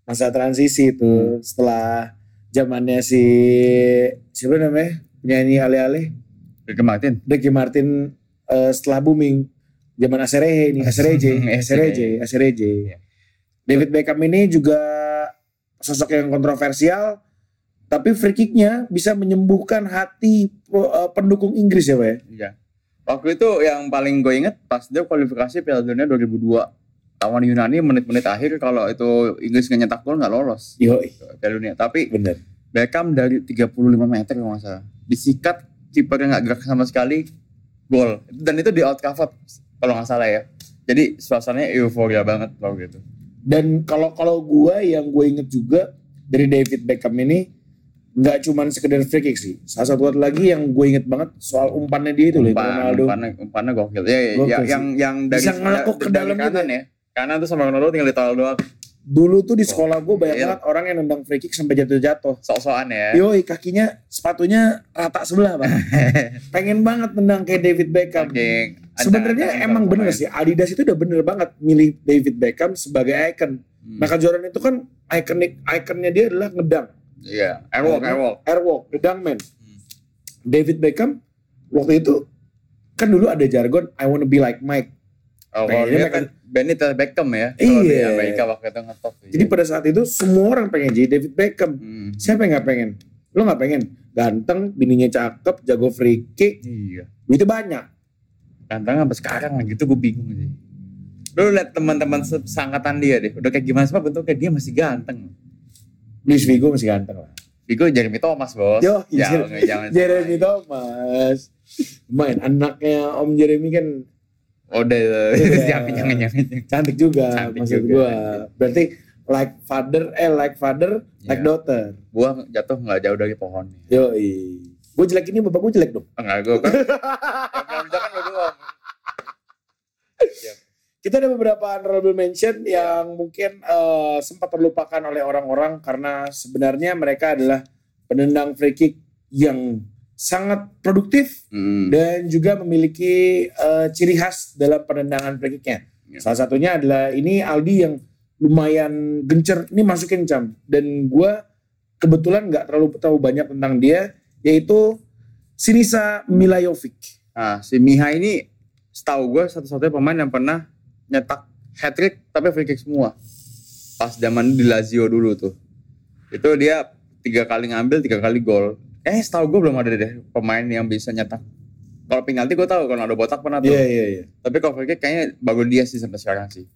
[SPEAKER 1] Masa transisi itu
[SPEAKER 2] Hmm.
[SPEAKER 1] setelah zamannya si siapa namanya penyanyi alih-alih
[SPEAKER 2] Ricky Martin.
[SPEAKER 1] Ricky Martin eh, setelah booming zaman Aserehe ini Asereje Asereje Asereje
[SPEAKER 2] Iya.
[SPEAKER 1] David Beckham ini juga sosok yang kontroversial tapi free kicknya bisa menyembuhkan hati pro- eh, pendukung Inggris ya Pak ya?
[SPEAKER 2] Iya. Waktu itu yang paling gue inget pas dia kualifikasi Piala Dunia 2002 lawan Yunani menit-menit akhir kalau itu Inggris nggak nyetak gol nggak lolos
[SPEAKER 1] Yo,
[SPEAKER 2] Piala Dunia. Tapi
[SPEAKER 1] bener.
[SPEAKER 2] Beckham dari 35 meter kalau nggak salah disikat kipernya nggak gerak sama sekali gol dan itu di out cover kalau nggak salah ya. Jadi suasananya euforia banget loh gitu.
[SPEAKER 1] Dan kalau kalau gua yang gue inget juga dari David Beckham ini nggak cuman sekedar free kick sih. Salah satu lagi yang gue inget banget soal umpannya dia itu loh,
[SPEAKER 2] Umpan-
[SPEAKER 1] Ronaldo.
[SPEAKER 2] umpannya, umpannya gokil. Ya, ya,
[SPEAKER 1] Gokil
[SPEAKER 2] ya,
[SPEAKER 1] sih.
[SPEAKER 2] yang yang dari,
[SPEAKER 1] Bisa ngelekuk ke
[SPEAKER 2] dari
[SPEAKER 1] dalam gitu
[SPEAKER 2] kanan ya. Kanan tuh sama Ronaldo tinggal ditolak doang.
[SPEAKER 1] Dulu tuh di sekolah gue banyak
[SPEAKER 2] Iya.
[SPEAKER 1] banget orang yang nendang free kick sampai jatuh-jatuh.
[SPEAKER 2] Sok-sokan ya.
[SPEAKER 1] Yoi kakinya sepatunya rata sebelah bang. Pengen banget menang kayak David Beckham.
[SPEAKER 2] Saking ada-
[SPEAKER 1] kan. Sebenarnya
[SPEAKER 2] ada-
[SPEAKER 1] emang
[SPEAKER 2] ada-
[SPEAKER 1] bener sih Adidas itu udah bener banget milih David Beckham sebagai icon.
[SPEAKER 2] Hmm.
[SPEAKER 1] Michael Jordan itu kan ikonik ikonnya dia adalah ngedang,
[SPEAKER 2] Iya, airwalk,
[SPEAKER 1] Akhirnya-
[SPEAKER 2] airwalk.
[SPEAKER 1] airwalk, ngedang man.
[SPEAKER 2] Hmm.
[SPEAKER 1] David Beckham waktu itu kan dulu ada jargon I wanna be like Mike.
[SPEAKER 2] Oh,
[SPEAKER 1] Pengennya
[SPEAKER 2] kalau dia
[SPEAKER 1] makan-
[SPEAKER 2] kan Benita Beckham ya. Kalau di
[SPEAKER 1] Iya.
[SPEAKER 2] Amerika waktu itu ngetop. ya.
[SPEAKER 1] Jadi pada saat itu semua orang pengen jadi David Beckham.
[SPEAKER 2] Hmm.
[SPEAKER 1] Siapa yang nggak pengen? Lo nggak pengen? Ganteng, bininya cakep, jago free kick,
[SPEAKER 2] Iya.
[SPEAKER 1] duitnya banyak.
[SPEAKER 2] Kantong sampai sekarang lagi itu gue bingung sih. Lu liat teman-teman se- seangkatan dia deh, udah kayak gimana sih pak bentuknya dia masih ganteng.
[SPEAKER 1] Luis Vigo masih ganteng lah.
[SPEAKER 2] Vigo Jeremy Thomas bos.
[SPEAKER 1] Yo,
[SPEAKER 2] jangan,
[SPEAKER 1] Jer-
[SPEAKER 2] jangan.
[SPEAKER 1] Jeremy Thomas. Main anaknya Om Jeremy kan
[SPEAKER 2] Udah,
[SPEAKER 1] Iya.
[SPEAKER 2] jangan, jangan, jangan.
[SPEAKER 1] cantik juga
[SPEAKER 2] Cantik
[SPEAKER 1] maksud
[SPEAKER 2] juga.
[SPEAKER 1] gua. Berarti like father eh like father like
[SPEAKER 2] Iya.
[SPEAKER 1] daughter.
[SPEAKER 2] Buah jatuh nggak jauh dari pohonnya.
[SPEAKER 1] Yoi. Gue jelek ini bapak gue jelek dong.
[SPEAKER 2] Enggak, gue kan. Yang belum bisa kan gue doang.
[SPEAKER 1] Kita ada beberapa honorable mention yang mungkin eh, sempat terlupakan oleh orang-orang karena sebenarnya mereka adalah penendang free kick yang sangat produktif
[SPEAKER 2] Hmm.
[SPEAKER 1] dan juga memiliki eh, ciri khas dalam penendangan free kicknya.
[SPEAKER 2] Ya.
[SPEAKER 1] Salah satunya adalah ini Aldi yang lumayan gencer, ini masukin jam dan gua kebetulan nggak terlalu tahu banyak tentang dia, yaitu Sinisa Milajovic.
[SPEAKER 2] Nah, si Miha ini setahu gue satu-satunya pemain yang pernah nyetak hat trick tapi free kick semua. Pas zaman di Lazio dulu tuh. Itu dia tiga kali ngambil, tiga kali gol. Eh, setahu gue belum ada deh pemain yang bisa nyetak. Kalau penalti gue tahu, kalau ada botak pernah tuh.
[SPEAKER 1] Iya iya iya.
[SPEAKER 2] Tapi kalau free kick kayaknya bagus dia sih sampai sekarang sih.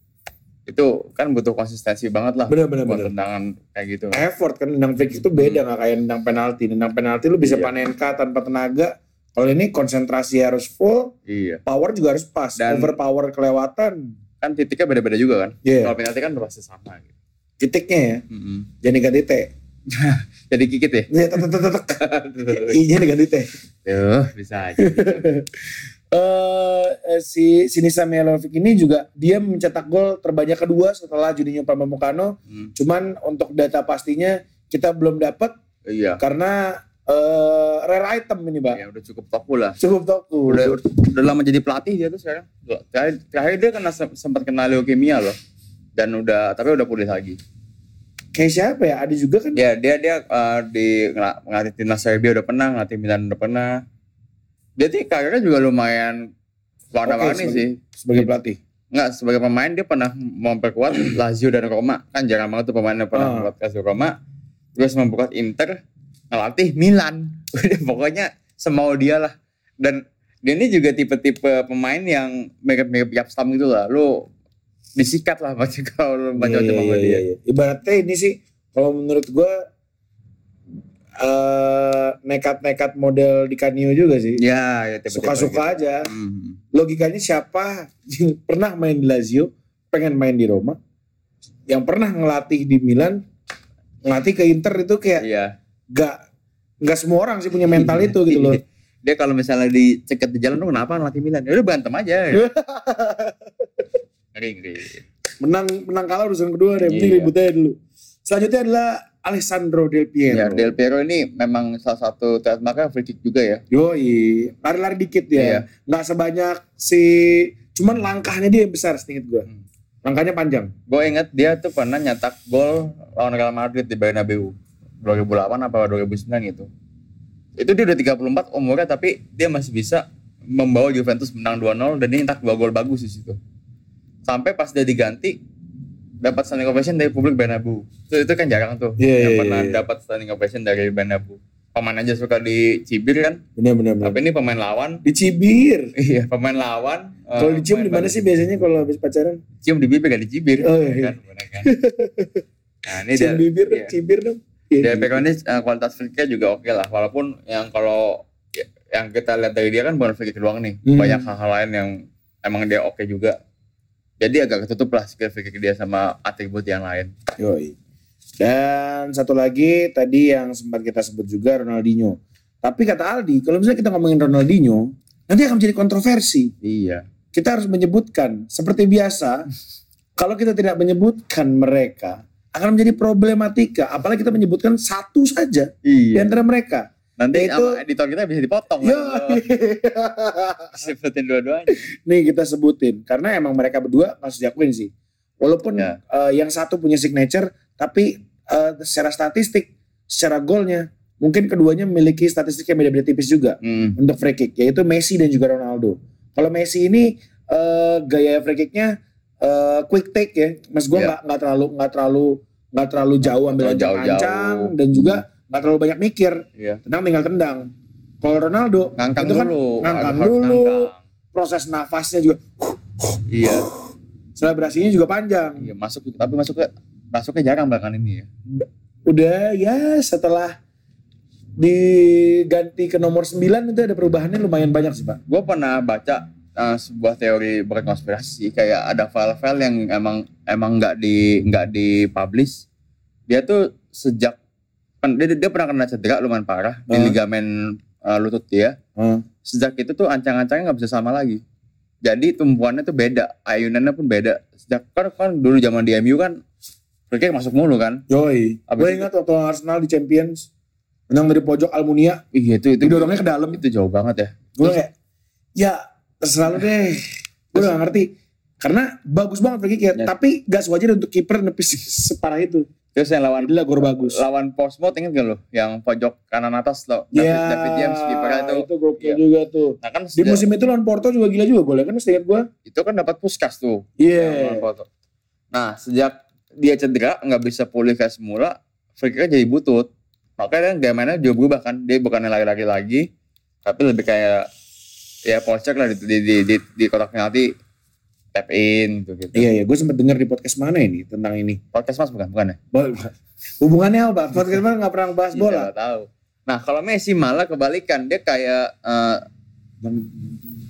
[SPEAKER 2] Itu kan butuh konsistensi banget lah
[SPEAKER 1] Benar benar
[SPEAKER 2] buat
[SPEAKER 1] benar.
[SPEAKER 2] tendangan kayak gitu.
[SPEAKER 1] Effort kan nendang free kick itu beda nggak kayak nendang penalti. Nendang penalti lu bisa
[SPEAKER 2] Iya.
[SPEAKER 1] panen K tanpa tenaga. Kalau ini konsentrasi harus full,
[SPEAKER 2] Iya.
[SPEAKER 1] power juga harus pas.
[SPEAKER 2] Dan-
[SPEAKER 1] Overpower kelewatan.
[SPEAKER 2] Kan titiknya beda-beda juga kan.
[SPEAKER 1] Iya.
[SPEAKER 2] Kalau penalti kan pasti sama gitu.
[SPEAKER 1] Titiknya ya,
[SPEAKER 2] Mm-mm.
[SPEAKER 1] jangan ganti T.
[SPEAKER 2] Jadi ya. gigit ya.
[SPEAKER 1] Ya, tek, tek, tek, tek. I-nya diganti T.
[SPEAKER 2] Tuh, bisa aja.
[SPEAKER 1] eh eh, si Sinisa Milovic ini juga dia mencetak gol terbanyak kedua setelah Juninho Pamukano.
[SPEAKER 2] Hmm,
[SPEAKER 1] Cuman untuk data pastinya kita belum dapat
[SPEAKER 2] iya.
[SPEAKER 1] karena eh rare item ini, Pak.
[SPEAKER 2] Ya udah cukup toko lah.
[SPEAKER 1] Cukup toku.
[SPEAKER 2] Udah, udah lama jadi pelatih dia tuh sekarang. Dua- Terakhir, terakhir dia kena se- sempat kena leukemia loh. Dan udah tapi udah pulih lagi.
[SPEAKER 1] Kayak siapa ya? Ada juga kan.
[SPEAKER 2] Ya, dia dia eh, di ngel- ngelatih timnas Serbia udah pernah, ngelatih Milan udah pernah. Dia sih karirnya juga lumayan warna-warni
[SPEAKER 1] Oke, sebagai-
[SPEAKER 2] sih.
[SPEAKER 1] Sebagai pelatih.
[SPEAKER 2] Enggak, sebagai pemain dia pernah memperkuat Lazio dan Roma. Kan jarang banget tuh pemain yang
[SPEAKER 1] Ah.
[SPEAKER 2] pernah memperkuat Lazio Roma. Terus memperkuat Inter, ngelatih Milan. Udah pokoknya semau dia lah. Dan dia ini juga tipe-tipe pemain yang mirip-mirip Yapstam gitu lah. Lu disikat lah baca kalau lu baca
[SPEAKER 1] Iya,
[SPEAKER 2] baca
[SPEAKER 1] iya,
[SPEAKER 2] sama
[SPEAKER 1] iya,
[SPEAKER 2] dia.
[SPEAKER 1] iya. Ibaratnya ini sih kalau menurut gua eh nekat-nekat model di Kanio juga sih.
[SPEAKER 2] Ya, ya tipe-tipe
[SPEAKER 1] Suka-suka aja.
[SPEAKER 2] gitu. Hmm.
[SPEAKER 1] logikanya siapa yang pernah main di Lazio pengen main di Roma yang pernah ngelatih di Milan ngelatih ke Inter itu kayak
[SPEAKER 2] Iya.
[SPEAKER 1] gak gak semua orang sih punya mental itu gitu loh
[SPEAKER 2] Dia kalau misalnya diceket di jalan, lu kenapa ngelatih Milan? Ya udah bantem aja. Ngeri, ngeri.
[SPEAKER 1] menang menang kalah urusan kedua deh penting
[SPEAKER 2] Iya.
[SPEAKER 1] ribut aja dulu selanjutnya adalah Alessandro Del
[SPEAKER 2] Ya,
[SPEAKER 1] Piero
[SPEAKER 2] Del Piero ini memang salah satu trademarknya free kick juga ya.
[SPEAKER 1] yoi lari-lari dikit
[SPEAKER 2] Iya.
[SPEAKER 1] ya nggak sebanyak si cuman langkahnya dia yang besar setingkat gua
[SPEAKER 2] Hmm.
[SPEAKER 1] langkahnya panjang
[SPEAKER 2] Gue inget dia tuh pernah nyetak gol lawan Real Madrid di Bernabeu 2008 apa 2009 gitu. Itu dia udah 34 umurnya tapi dia masih bisa membawa Juventus menang 2-0 dan dia nyetak dua gol bagus di situ. Sampai pas dia diganti dapat standing ovation dari publik Bernabeu. Itu, itu kan jarang tuh
[SPEAKER 1] Iya,
[SPEAKER 2] yang
[SPEAKER 1] iya,
[SPEAKER 2] pernah
[SPEAKER 1] iya.
[SPEAKER 2] dapat standing ovation dari Bernabeu. Pemain aja suka dicibir kan,
[SPEAKER 1] benar-benar
[SPEAKER 2] tapi ini pemain lawan.
[SPEAKER 1] dicibir
[SPEAKER 2] Iya, pemain lawan. eh,
[SPEAKER 1] kalau dicium di
[SPEAKER 2] pemain
[SPEAKER 1] mana
[SPEAKER 2] baru.
[SPEAKER 1] sih biasanya kalau habis pacaran
[SPEAKER 2] cium di bibir gak dicibir
[SPEAKER 1] Oh,
[SPEAKER 2] ya
[SPEAKER 1] iya.
[SPEAKER 2] kan bener kan nah ini
[SPEAKER 1] cium
[SPEAKER 2] dia
[SPEAKER 1] bibir
[SPEAKER 2] iya.
[SPEAKER 1] cibir dong
[SPEAKER 2] dia Peko ini eh, kualitas free kick-nya juga oke lah walaupun yang kalau ya, yang kita lihat dari dia kan bukan free kick doang nih
[SPEAKER 1] Hmm.
[SPEAKER 2] banyak hal-hal lain yang emang dia oke juga jadi agak ketutup lah skill free kick dia sama atribut yang lain
[SPEAKER 1] Yoi. Dan satu lagi tadi yang sempat kita sebut juga Ronaldinho. Tapi kata Aldi, kalau misalnya kita ngomongin Ronaldinho, nanti akan menjadi kontroversi.
[SPEAKER 2] iya
[SPEAKER 1] Kita harus menyebutkan. Seperti biasa, kalau kita tidak menyebutkan mereka, akan menjadi problematika. Apalagi kita menyebutkan satu saja di
[SPEAKER 2] iya
[SPEAKER 1] antara mereka.
[SPEAKER 2] nanti
[SPEAKER 1] Itu- Iya.
[SPEAKER 2] sama editor kita bisa dipotong
[SPEAKER 1] Yo.
[SPEAKER 2] kan? sebutin dua-duanya
[SPEAKER 1] Nih kita sebutin. Karena emang mereka berdua harus diakuin sih. Walaupun
[SPEAKER 2] Ya.
[SPEAKER 1] eh, yang satu punya signature, tapi eh, secara statistik, secara golnya, mungkin keduanya memiliki statistik yang beda-beda tipis juga
[SPEAKER 2] hmm.
[SPEAKER 1] untuk free kick, yaitu Messi dan juga Ronaldo. Kalau Messi ini eh, gaya free kicknya eh, quick take ya, mas gue
[SPEAKER 2] Ya.
[SPEAKER 1] nggak nggak terlalu nggak terlalu nggak terlalu jauh ambil
[SPEAKER 2] Nggak terlalu
[SPEAKER 1] ancang-ancang
[SPEAKER 2] jauh-jauh.
[SPEAKER 1] dan juga nggak terlalu banyak mikir,
[SPEAKER 2] iya
[SPEAKER 1] tendang tinggal tendang. Kalau Ronaldo
[SPEAKER 2] ngangkang
[SPEAKER 1] Itu kan
[SPEAKER 2] dulu
[SPEAKER 1] ngangkang
[SPEAKER 2] harus
[SPEAKER 1] dulu. proses nafasnya juga
[SPEAKER 2] Iya.
[SPEAKER 1] selebrasinya juga panjang
[SPEAKER 2] Iya masuk tapi masuknya masuknya jarang bahkan ini ya.
[SPEAKER 1] udah ya setelah diganti ke nomor 9 itu ada perubahannya lumayan banyak sih pak
[SPEAKER 2] Gue pernah baca eh, sebuah teori berkonspirasi kayak ada file-file yang emang emang nggak di nggak dipublish. Dia tuh sejak pen- dia, dia pernah kena cedera lumayan parah di
[SPEAKER 1] Hmm.
[SPEAKER 2] ligamen eh, lutut dia.
[SPEAKER 1] Hmm.
[SPEAKER 2] Sejak itu tuh ancang-ancangnya nggak bisa sama lagi. Jadi tumbuhannya tuh beda, ayunannya pun beda. Sejak kan, kan dulu zaman di MU kan mereka masuk mulu kan.
[SPEAKER 1] Yoi,
[SPEAKER 2] Abis
[SPEAKER 1] gue
[SPEAKER 2] itu-
[SPEAKER 1] ingat waktu lawan Arsenal di Champions menang dari pojok Almunia,
[SPEAKER 2] Iya itu itu
[SPEAKER 1] didorongnya ke dalam.
[SPEAKER 2] itu jauh banget ya.
[SPEAKER 1] Gue kayak, ya terserah lu deh. Gue gak ngerti. Karena bagus banget free kick ya,
[SPEAKER 2] Ya.
[SPEAKER 1] tapi gak wajar untuk kiper nepis separah itu.
[SPEAKER 2] Terus yang lawan
[SPEAKER 1] Gila gor bagus.
[SPEAKER 2] lawan Portsmouth inget gak lo yang pojok kanan atas lo David,
[SPEAKER 1] Ya,
[SPEAKER 2] David James kipernya itu
[SPEAKER 1] itu gokil
[SPEAKER 2] Iya.
[SPEAKER 1] juga tuh.
[SPEAKER 2] nah kan
[SPEAKER 1] Di
[SPEAKER 2] sejak-
[SPEAKER 1] musim itu lawan Porto juga gila juga golnya kan setiap gue.
[SPEAKER 2] itu kan dapat puskas tuh yang
[SPEAKER 1] Iya.
[SPEAKER 2] lawan Ya, Porto. nah sejak dia cedera nggak bisa pulih kayak semula free kick-nya jadi butut makanya dia mainnya juga berubah kan dia bukannya lari-lari lagi tapi lebih kayak ya polcek lah di di di, di, di kotak penalti tap in gitu gitu
[SPEAKER 1] Iya, iya. Gue sempet denger di podcast mana ini tentang ini.
[SPEAKER 2] podcast mas bukan bukan ya
[SPEAKER 1] Bo- Hubungannya apa? Podcast mana gak pernah bahas bola.
[SPEAKER 2] Iya, nggak tahu nah kalau Messi malah kebalikan dia kayak eh,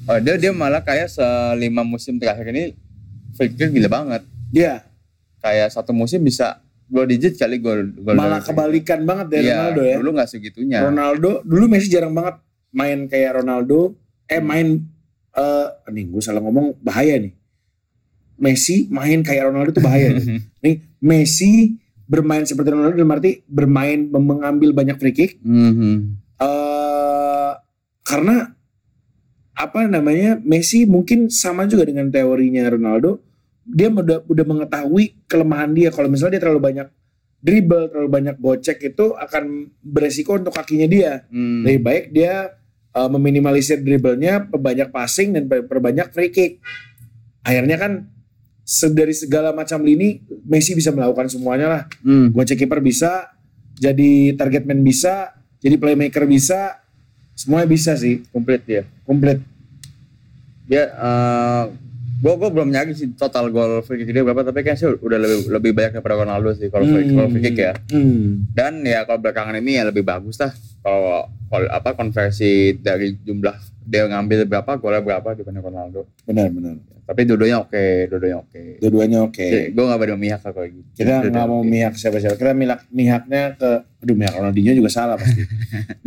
[SPEAKER 2] Oh, dia dia malah kayak selima musim terakhir ini free kick gila banget.
[SPEAKER 1] Iya,
[SPEAKER 2] Kayak satu musim bisa dua digit kali gol gol.
[SPEAKER 1] malah
[SPEAKER 2] dari-
[SPEAKER 1] kebalikan banget dari
[SPEAKER 2] Iya,
[SPEAKER 1] Ronaldo ya.
[SPEAKER 2] Dulu nggak segitunya.
[SPEAKER 1] Ronaldo dulu Messi jarang banget main kayak Ronaldo eh
[SPEAKER 2] Hmm.
[SPEAKER 1] main eh nih gue salah ngomong bahaya nih Messi main kayak Ronaldo tuh bahaya nih. nih Messi bermain seperti Ronaldo dalam arti bermain mem- mengambil banyak free kick
[SPEAKER 2] Mhm.
[SPEAKER 1] eh karena apa namanya Messi mungkin sama juga dengan teorinya Ronaldo dia udah udah mengetahui kelemahan dia kalau misalnya dia terlalu banyak dribble terlalu banyak gocek itu akan beresiko untuk kakinya dia
[SPEAKER 2] Hmm.
[SPEAKER 1] lebih baik dia uh, meminimalisir dribblenya, perbanyak passing dan per- perbanyak free kick. Akhirnya kan se- dari segala macam lini Messi bisa melakukan semuanya lah.
[SPEAKER 2] Hmm.
[SPEAKER 1] Gocek kiper bisa, jadi target man bisa, jadi playmaker bisa, semuanya bisa sih,
[SPEAKER 2] Komplit dia.
[SPEAKER 1] komplit.
[SPEAKER 2] Dia eh gua gua belum nyari sih total gol free kick dia berapa tapi kayaknya sih udah lebih lebih banyak daripada Ronaldo sih kalau free, kalau free kick ya.
[SPEAKER 1] Hmm.
[SPEAKER 2] Dan ya kalau belakangan ini ya lebih bagus lah kalau kalau apa konversi dari jumlah dia ngambil berapa golnya berapa dibanding Ronaldo.
[SPEAKER 1] Benar, benar.
[SPEAKER 2] tapi dua-duanya oke dua-duanya oke
[SPEAKER 1] Dua-duanya oke.
[SPEAKER 2] gue gak pada mihak lah kalau gitu
[SPEAKER 1] Kita nggak mau mihak siapa-siapa. Kita mihak mihaknya ke aduh mihak Ronaldinho juga salah pasti.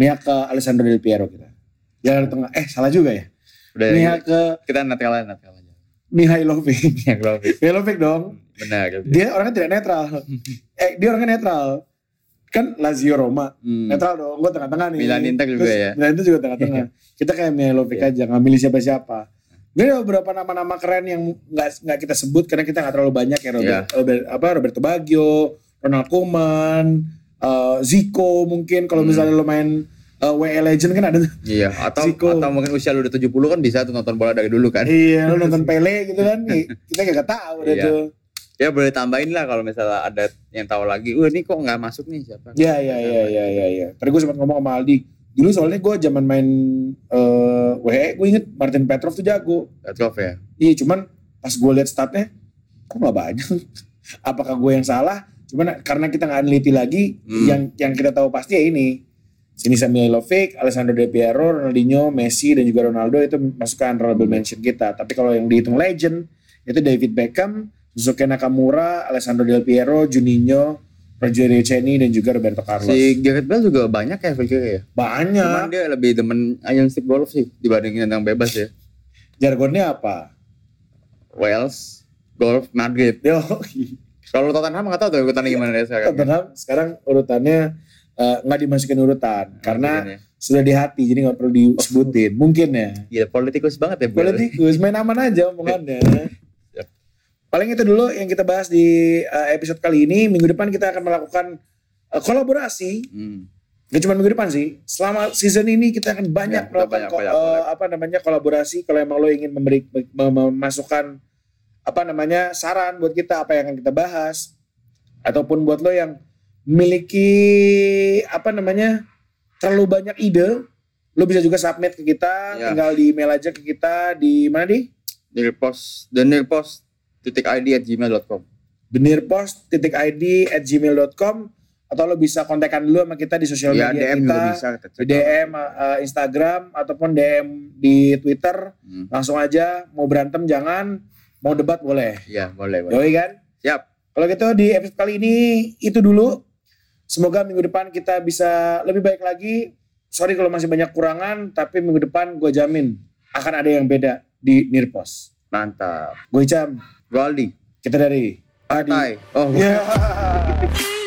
[SPEAKER 1] mihak ke Alessandro Del Piero kita. Jalan tengah. Eh, salah juga ya.
[SPEAKER 2] udah
[SPEAKER 1] Mihak ke
[SPEAKER 2] kita netral aja netral aja
[SPEAKER 1] Mihailovic.
[SPEAKER 2] mihak lo
[SPEAKER 1] Mihailovic dong.
[SPEAKER 2] benar gitu.
[SPEAKER 1] Dia orangnya tidak netral. Eh, dia orangnya netral. Kan Lazio Roma.
[SPEAKER 2] Hmm.
[SPEAKER 1] Netral dong, gue tengah-tengah nih.
[SPEAKER 2] Milan Inter juga
[SPEAKER 1] Terus
[SPEAKER 2] ya. Iya.
[SPEAKER 1] Milan Inter juga tengah-tengah. kita kayak Mihailovic aja, nggak milih siapa-siapa. Gue ada beberapa nama-nama keren yang nggak nggak kita sebut karena kita nggak terlalu banyak ya Robert,
[SPEAKER 2] Iya.
[SPEAKER 1] Robert apa Roberto Baggio, Ronald Koeman, eh, Zico mungkin kalau
[SPEAKER 2] Hmm.
[SPEAKER 1] misalnya lo main eh, WE Legend kan ada
[SPEAKER 2] iya atau
[SPEAKER 1] Zico.
[SPEAKER 2] atau mungkin usia lu udah 70 kan bisa tuh nonton bola dari dulu kan
[SPEAKER 1] iya lo nonton Pele gitu kan Ih, kita nggak tahu udah
[SPEAKER 2] Iya.
[SPEAKER 1] tuh
[SPEAKER 2] ya boleh tambahin lah kalau misalnya ada yang tahu lagi wah ini kok nggak masuk nih siapa Nah,
[SPEAKER 1] Ya ya ya ya ya ya. Tadi gue sempat ngomong sama Aldi. Dulu soalnya gue zaman main eh WE, gue inget Martin Petrov tuh jago.
[SPEAKER 2] Petrov ya
[SPEAKER 1] Iya cuman pas gue lihat statnya, kok nggak banyak. Apakah gue yang salah? Cuman karena kita nggak neliti lagi,
[SPEAKER 2] Hmm.
[SPEAKER 1] yang yang kita tahu pasti ya ini. Sini Samiovic, Alessandro Del Piero, Ronaldinho, Messi dan juga Ronaldo itu masukkan honorable mention kita. Tapi kalau yang dihitung legend itu David Beckham, Suzuki Nakamura, Alessandro Del Piero, Juninho, Rogerio Ceni dan juga Roberto Carlos
[SPEAKER 2] si Gareth Bale juga banyak ya free kick ya cuman
[SPEAKER 1] banyak
[SPEAKER 2] dia lebih demen iron stick golf sih dibandingin yang bebas ya
[SPEAKER 1] jargonnya apa
[SPEAKER 2] Wales golf Madrid
[SPEAKER 1] yo
[SPEAKER 2] kalau Tottenham nggak tahu tuh ikutannya gimana dia sekarang
[SPEAKER 1] Tottenham sekarang urutannya eh, nggak dimasukin urutan karena
[SPEAKER 2] Iya.
[SPEAKER 1] sudah di hati jadi nggak perlu disebutin mungkin ya
[SPEAKER 2] Gila, politikus banget ya Bale.
[SPEAKER 1] politikus main aman aja omongannya paling itu dulu yang kita bahas di eh, episode kali ini minggu depan kita akan melakukan eh, kolaborasi
[SPEAKER 2] Hmm.
[SPEAKER 1] Gak cuma minggu depan sih. Selama season ini kita akan
[SPEAKER 2] Ya,
[SPEAKER 1] banyak
[SPEAKER 2] kita
[SPEAKER 1] melakukan
[SPEAKER 2] banyak-
[SPEAKER 1] ko-
[SPEAKER 2] banyak
[SPEAKER 1] eh,
[SPEAKER 2] collab.
[SPEAKER 1] apa namanya kolaborasi. Kalau emang lo ingin memberi mem- memasukkan apa namanya saran buat kita apa yang akan kita bahas ataupun buat lo yang memiliki apa namanya terlalu banyak ide Lu bisa juga submit ke kita,
[SPEAKER 2] Iya.
[SPEAKER 1] tinggal di email aja ke kita di mana di?
[SPEAKER 2] nilpos the nilpos titik id at gmail.com
[SPEAKER 1] benirpost.id at gmail.com atau lo bisa kontekan dulu sama kita di sosial
[SPEAKER 2] ya
[SPEAKER 1] media kita,
[SPEAKER 2] dm juga bisa kita
[SPEAKER 1] di
[SPEAKER 2] cek.
[SPEAKER 1] DM uh, Instagram ataupun DM di Twitter
[SPEAKER 2] Hmm,
[SPEAKER 1] langsung aja mau berantem jangan mau debat boleh
[SPEAKER 2] iya boleh boleh
[SPEAKER 1] Yoi kan
[SPEAKER 2] siap
[SPEAKER 1] kalau gitu di episode kali ini itu dulu semoga minggu depan kita bisa lebih baik lagi sorry kalau masih banyak kurangan tapi minggu depan gue jamin akan ada yang beda di Nirpos
[SPEAKER 2] mantap
[SPEAKER 1] gue Icam
[SPEAKER 2] Goldi
[SPEAKER 1] kita dari Adi
[SPEAKER 2] Hai oh
[SPEAKER 1] Yeah.